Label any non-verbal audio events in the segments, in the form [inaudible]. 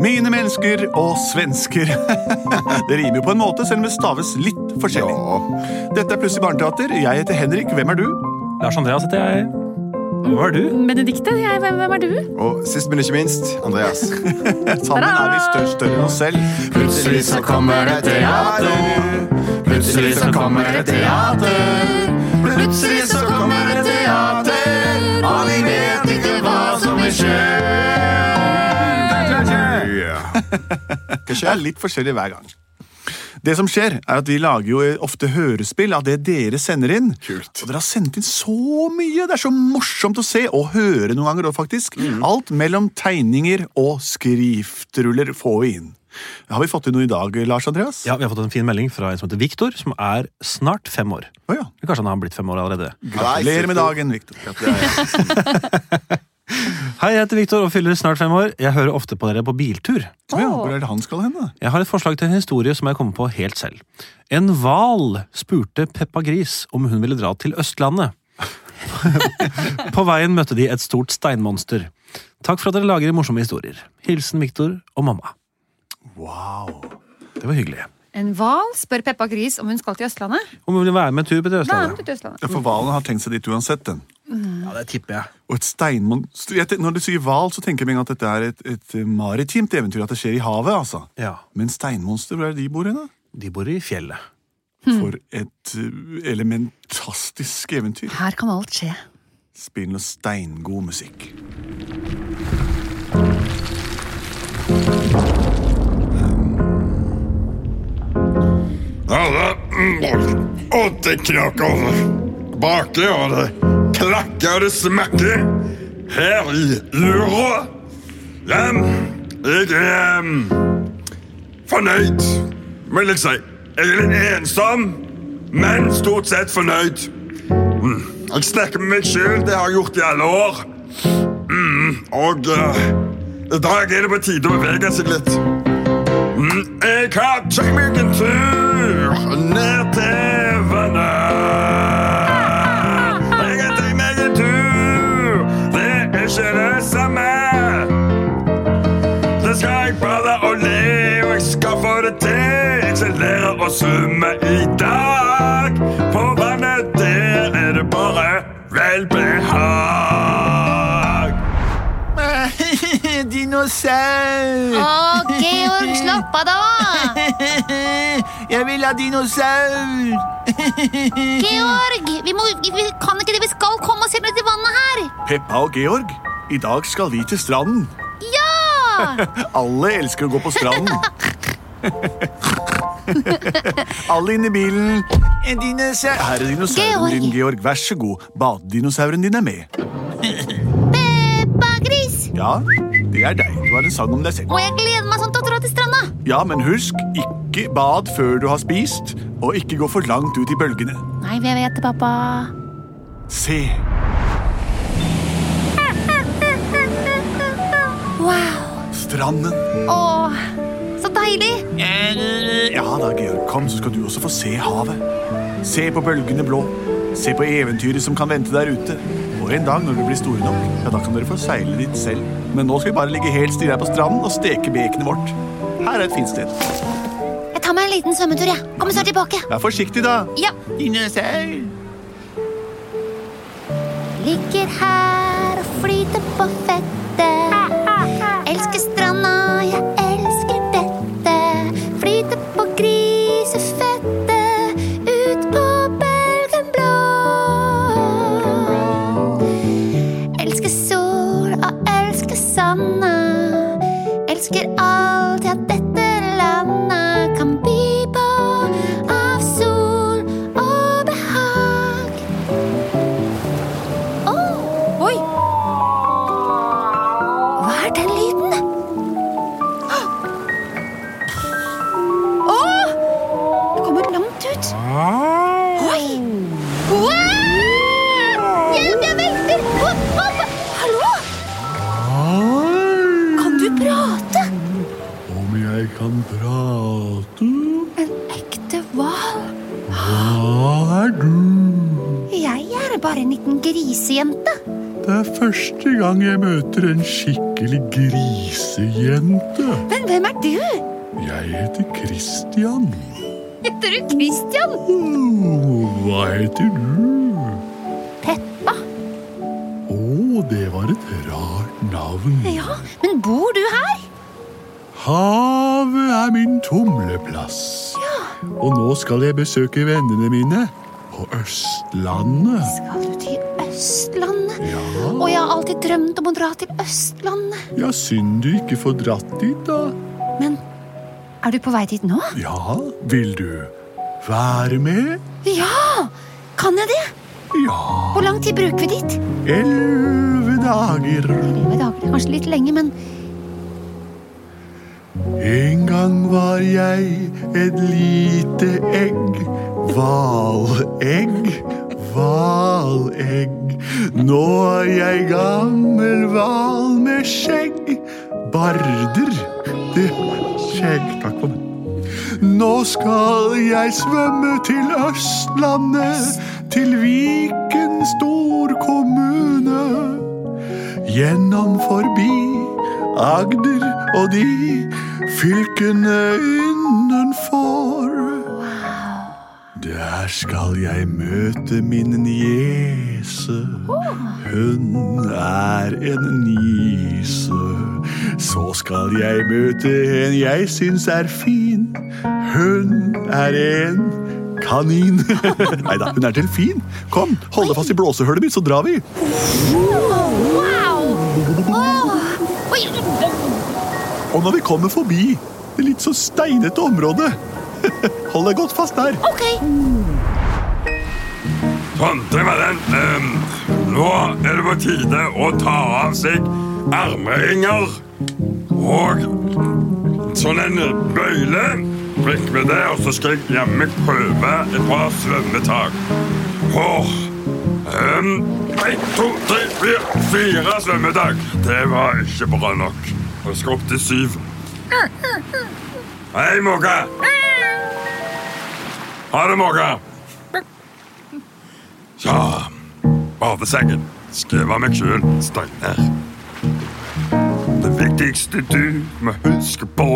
Mine mennesker og svensker. [laughs] det rimer jo på en måte, selv om det staves litt forskjellig. Dette er Plutselig barneteater. Jeg heter Henrik. Hvem er du? Lars Andreas heter jeg. Hva er du? Benedikte, jeg, hvem, hvem er du? Og sist, men ikke minst, [laughs] Andreas. Sammen er vi størst større enn oss selv. Plutselig så kommer det teater. Plutselig så kommer det teater. Plutselig så kommer det teater. Og vi vet ikke hva som vil skje. Hva Det er skjer? litt forskjellig hver gang. Det som skjer, er at vi lager jo ofte hørespill av det dere sender inn. Kult. Og dere har sendt inn så mye! Det er så morsomt å se og høre noen ganger òg, faktisk. Alt mellom tegninger og skriftruller får vi inn. Har vi fått inn noe i dag, Lars Andreas? Ja, Vi har fått en fin melding fra en som heter Viktor, som er snart fem år. Å ja. Kanskje han har blitt fem år allerede. Gratulerer med dagen, Victor. Hei, jeg heter Viktor og fyller snart fem år. Jeg hører ofte på dere på biltur. Å ja, hvor er det han skal hen, da? Jeg har et forslag til en historie som jeg kommer på helt selv. En hval spurte Peppa Gris om hun ville dra til Østlandet. [laughs] på veien møtte de et stort steinmonster. Takk for at dere lager morsomme historier. Hilsen Viktor og mamma. Wow. Det var hyggelig. En hval spør Peppa Gris om hun skal til Østlandet. Om hun vil være med en tur på til Da er hun Østlandet. til Østlandet. Ja, For hvalen har tenkt seg dit uansett, den. Ja, det tipper jeg. Og et steinmonster Jeg ten- Når du sier hval, så tenker jeg med en gang at dette er et, et maritimt eventyr. At det skjer i havet, altså. Ja, Men steinmonster, hvor er det de bor hen, da? De bor i fjellet. For et uh, elementastisk eventyr. Her kan alt skje. Spill noe steingod musikk. Alle åtte knakker baker, og det klakker og det smekker her i jorda. Em, Jeg er em, fornøyd, vil jeg si. Jeg er litt ensom, men stort sett fornøyd. Mm, Jeg snakker med meg sjøl, det har jeg gjort i alle år. Mm, Og eh, i dag er det på tide å bevege seg litt. Jeg har tatt meg en tur ned til vannet. Jeg har tatt meg en tur, det er ikke det samme. Da skal jeg bade og le, og jeg skal få det til. Jeg skal lære å svømme i dag. På vannet der er det bare velbehag. [laughs] Dinosaur! Å, Georg, slapp av da! Jeg vil ha dinosaur! Georg, vi, må, vi kan ikke det. Vi skal komme oss hjem til vannet her. Peppa og Georg, i dag skal vi til stranden. Ja! [laughs] Alle elsker å gå på stranden. [laughs] Alle inn i bilen. En dinosaur Her er dinosauren Georg. din, Georg. Vær så god. Badedinosauren din er med. Peppa Gris. Ja, det er deg. Du har en sang om deg selv. Og jeg gleder meg sånn til å dra til stranda. Ja, men husk, ikke bad før du har spist, og ikke gå for langt ut i bølgene. Nei, jeg vet det, pappa. Se, Wow. stranden. Å, så deilig. Ja da, Georg, kom, så skal du også få se havet. Se på bølgene blå. Se på eventyret som kan vente der ute. Og en dag når dere blir store nok, ja, da kan dere få seile dit selv. Men nå skal vi bare ligge helt stille her på stranden og steke bekenet vårt. Her er et fint sted. Jeg tar meg en liten svømmetur, jeg. Kommer snart tilbake. Vær forsiktig, da. Ja. Dinosaur! Ligger her og flyter på fettet. Elsker stranda, jeg elsker dette. Flyter på grisefettet, ut på bølgen blå. Elsker sol og elsker sanda. Elsker alt, ja, dette landet kan by på av sol og behag. Åh, oi! Hva er den lyden? kan prate. En ekte hval. Hva er du? Jeg er bare en liten grisejente. Det er første gang jeg møter en skikkelig grisejente. Men hvem er du? Jeg heter Christian. Heter du Christian? Oh, hva heter du? Peppa. Å, det var et rart navn. Ja, men bor du her? Havet er min tumleplass. Og nå skal jeg besøke vennene mine på Østlandet. Skal du til Østlandet? Ja. Og jeg har alltid drømt om å dra til Østlandet. Ja, synd du ikke får dratt dit, da. Men er du på vei dit nå? Ja, vil du være med? Ja! Kan jeg det? Ja. Hvor lang tid bruker vi dit? Elleve dager. Elleve dager. det er Kanskje litt lenge, men En gang var jeg et lite egg. Hvalegg, hvalegg. Nå er jeg gammel hval med skjegg. Barder. Det skjegg. Takk for meg. Nå skal jeg svømme til Østlandet, til Viken storkommune. Gjennom forbi Agder og de fylkene innenfor. Der skal jeg møte min niese. Hun er en nise. Så skal jeg møte en jeg syns er fin. Hun er en kanin. [laughs] Nei da, hun er delfin. Kom, hold deg fast i blåsehullet mitt, så drar vi. Wow! Oi! Og når vi kommer forbi det litt så steinete området [laughs] Hold deg godt fast der. Ok. Sånn, det var den. Ehm, nå er det på tide å ta av seg armringer og sånn en bøyle. Blikk med det, og så skal jeg jammen prøve et par svømmetak. Åh, ehm, Én, to, tre, fire, fire svømmetak. Det var ikke bra nok. Jeg skal opp til syv. Hei, måke. Ha det, måke. Så, badesengen. Skriv av meg sjøl, Steinar. Det viktigste du må huske på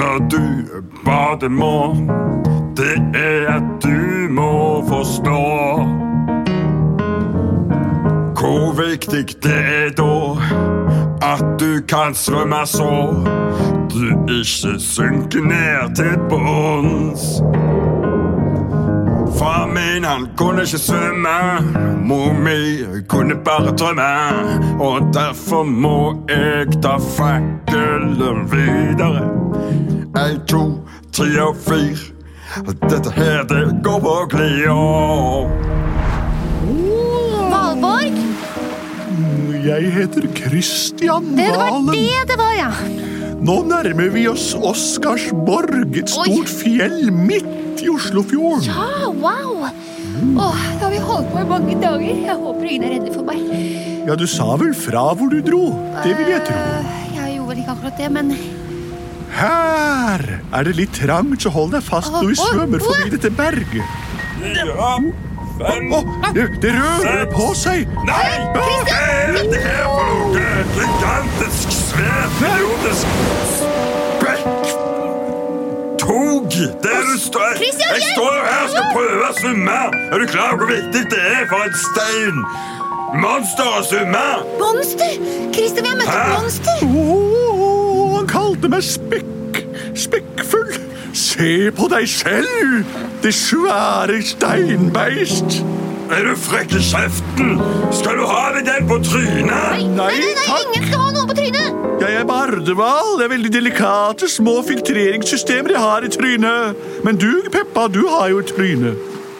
når du bader må, det er at du må forstå hvor viktig det er da at du kan svømme så du ikke synker ned til bunns. Far min han kunne ikke svømme Mor mi kunne bare drømme Og derfor må jeg ta fakkelen videre Ei, to, tre og fire Dette her det går på glia Valborg? Jeg heter Christian Det var Valen. det det var, ja. Nå nærmer vi oss Oscarsborg, et stort fjell midt i Oslofjorden. ah, wow! Åh, da har vi holdt på i mange dager. Jeg håper ingen er redde for meg. Ja, du sa vel fra hvor du dro? Det vil jeg tro. Eh, Jeg gjorde vel ikke akkurat det, men Her er det litt trangt, så hold deg fast når vi svømmer forbi dette berget. Ja, fem Å, det, det rører på seg! Nei, hva er dette her for noe? Gigantisk, svært, periodisk Spekk Tog, der du står Christian, Jeg hjelp! står her og skal prøve å svømme Er du klar over hvor viktig det er for en stein? Monster å svømme Monster! Christer, vi har møtt et Hæ? monster! Åh, han kalte meg spekk, spekkfull. Se på deg selv, det svære steinbeist. Er du frekk i kjeften? Skal du ha deg den på trynet? Nei, Nei, nei, takk. ingen skal ha noe på trynet! Jeg er bardehval. Det er veldig delikate små filtreringssystemer jeg har i trynet. Men du, Peppa, du har jo et tryne.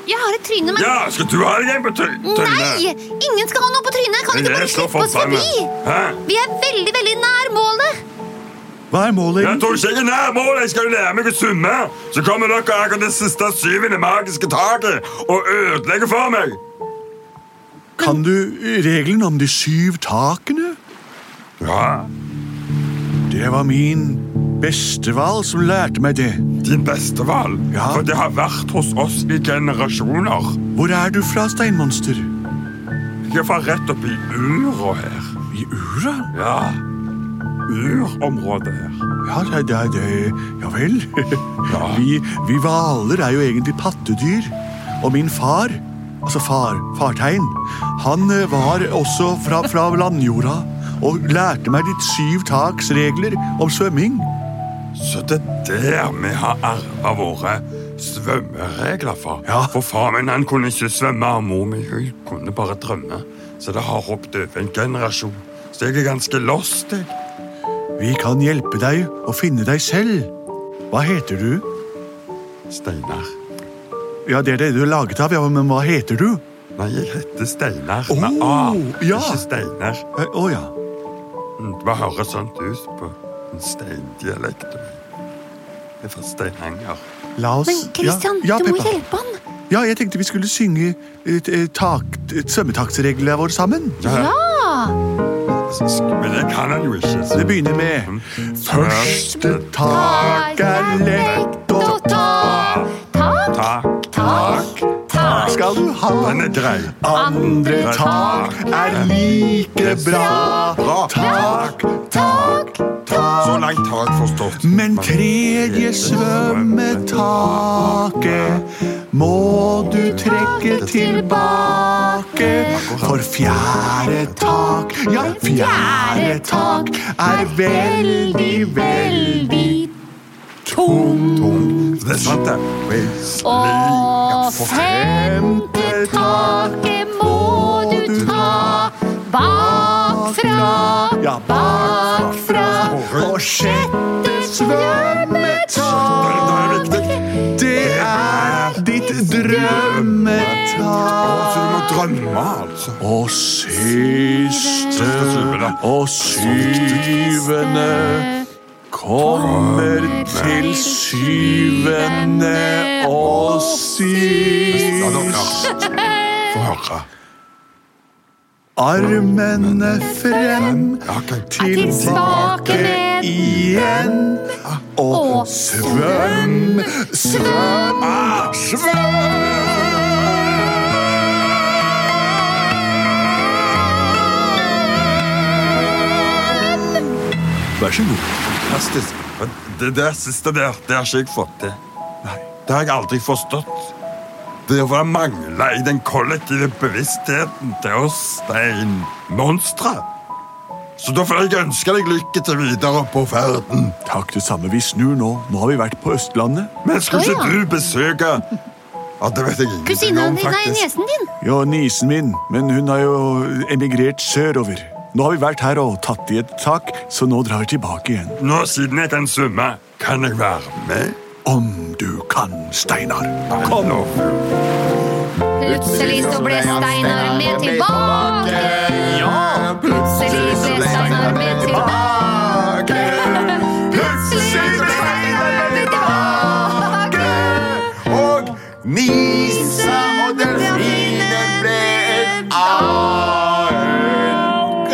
Jeg har et tryne, men Ja, skal du ha deg den på try- trynet? Nei! Ingen skal ha noe på trynet! Kan Men ikke jeg bare er så slippe oss forbannet. forbi! Hæ? Vi er veldig, veldig nær målet! Hva er målet? Jeg egentlig? tror ikke jeg er nær målet. Jeg skal jo lære meg å svømme. Så kommer dere her til det siste syvende magiske taket og ødelegger for meg. Kan du regelen om de syv takene? Ja, Det var min bestehval som lærte meg det. Din beste hval. Ja. For det har vært hos oss i generasjoner. Hvor er du fra, steinmonster? Jeg var rett oppi ura her. I ura? Ja. Urområdet her. Ja, det, det, det. ja vel. Ja. Vi, vi hvaler er jo egentlig pattedyr. Og min far, altså far, fartegn, han eh, var også fra, fra landjorda og lærte meg ditt syv taks regler om svømming. Så det er der vi har arva våre svømmeregler fra. Ja. For far min han kunne ikke svømme, og mor mi hun kunne bare drømme. Så det har hoppet over en generasjon. Så jeg er ganske lost, jeg. Vi kan hjelpe deg å finne deg selv. Hva heter du? Steinar. Ja, det er det du er laget av, ja, men hva heter du? Nei, jeg heter Steinar Åh, med A. ja. Ikke Steinar. Eh, Å ja. Mm, Det høres sånt ut på en steindialekt. Det er fra Steinanger. La oss Men Christian, ja, ja, du må Peppa. hjelpe han. Ja, jeg tenkte vi skulle synge eh, t- eh, tak, t- svømmetaksreglene våre sammen. Men det kan han jo ikke. Det begynner med Første tak er lett å ta Tak, Tak, tak skal du ha den er grei. Andre tak er like bra Tak, tak, Så tak langt har jeg forstått. Men tredje svømmetaket Må du trekke tilbake For fjerde tak Ja, fjerde tak Er veldig, veldig Det er sant, det. Og Femte tak taket må du ta bakfra. Ja, bakfra og sjette svømmetak. Det er viktig. Det er ditt drømmetak. Så du må drømme, altså. Og siste og syvende kommer til syvende og Ja, da, sist. ja. Få høre. Armene frem. Ja, ok. Tilbake ned. igjen Og svøm, svøm, ah, Vær så god Fantastisk. Men Det der siste der, det har ikke jeg fått til. Det har jeg aldri forstått. Det var mangla i den kollektive bevisstheten til oss steinmonstre. Så da får jeg ønske deg lykke til videre på ferden. Takk det samme, vi snur nå Nå har vi vært på Østlandet Men skal Å, ikke ja. du besøke Ja, det vet jeg ingenting Kusina om, di, nei, faktisk. niesen din. Ja, nisen min, men hun har jo emigrert sørover Nå har vi vært her og tatt i et tak Så nå drar vi tilbake igjen Nå siden jeg kan svømme, kan jeg være med? Om du kan, Steinar Kom nå. Plutselig så ble Steinar med tilbake. Ja, plutselig så ble Steinar med tilbake. Plutselig ble Steinar med tilbake. Og Nisa og delfinen ble et annet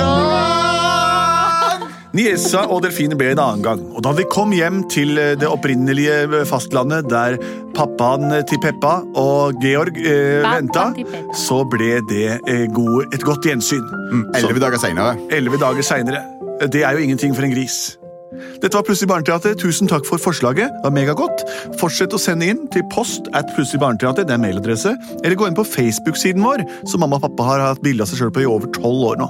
gang. Niesa og delfinen ble en annen gang. Og da vi kom hjem til eh, det opprinnelige eh, fastlandet, der pappaen eh, til Peppa og Georg eh, Pappaen venta, til Peppa. så ble det eh, god, et godt gjensyn. Elleve dager seinere. Elleve dager seinere. Det er jo ingenting for en gris. Dette var Plutselig barneteater. Tusen takk for forslaget. Det var megagodt. Fortsett å sende inn til post at Plutselig barneteater. Det er mailadresse. Eller gå inn på Facebook-siden vår, som mamma og pappa har hatt bilde av seg sjøl på i over tolv år nå.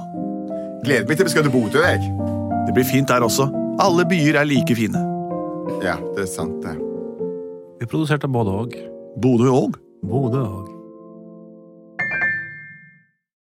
Gleder meg til vi skal til Bodø. jeg. Det blir fint der også. Alle byer er like fine. Ja, det er sant, det. Vi produserte både og. Bodø òg. Både og.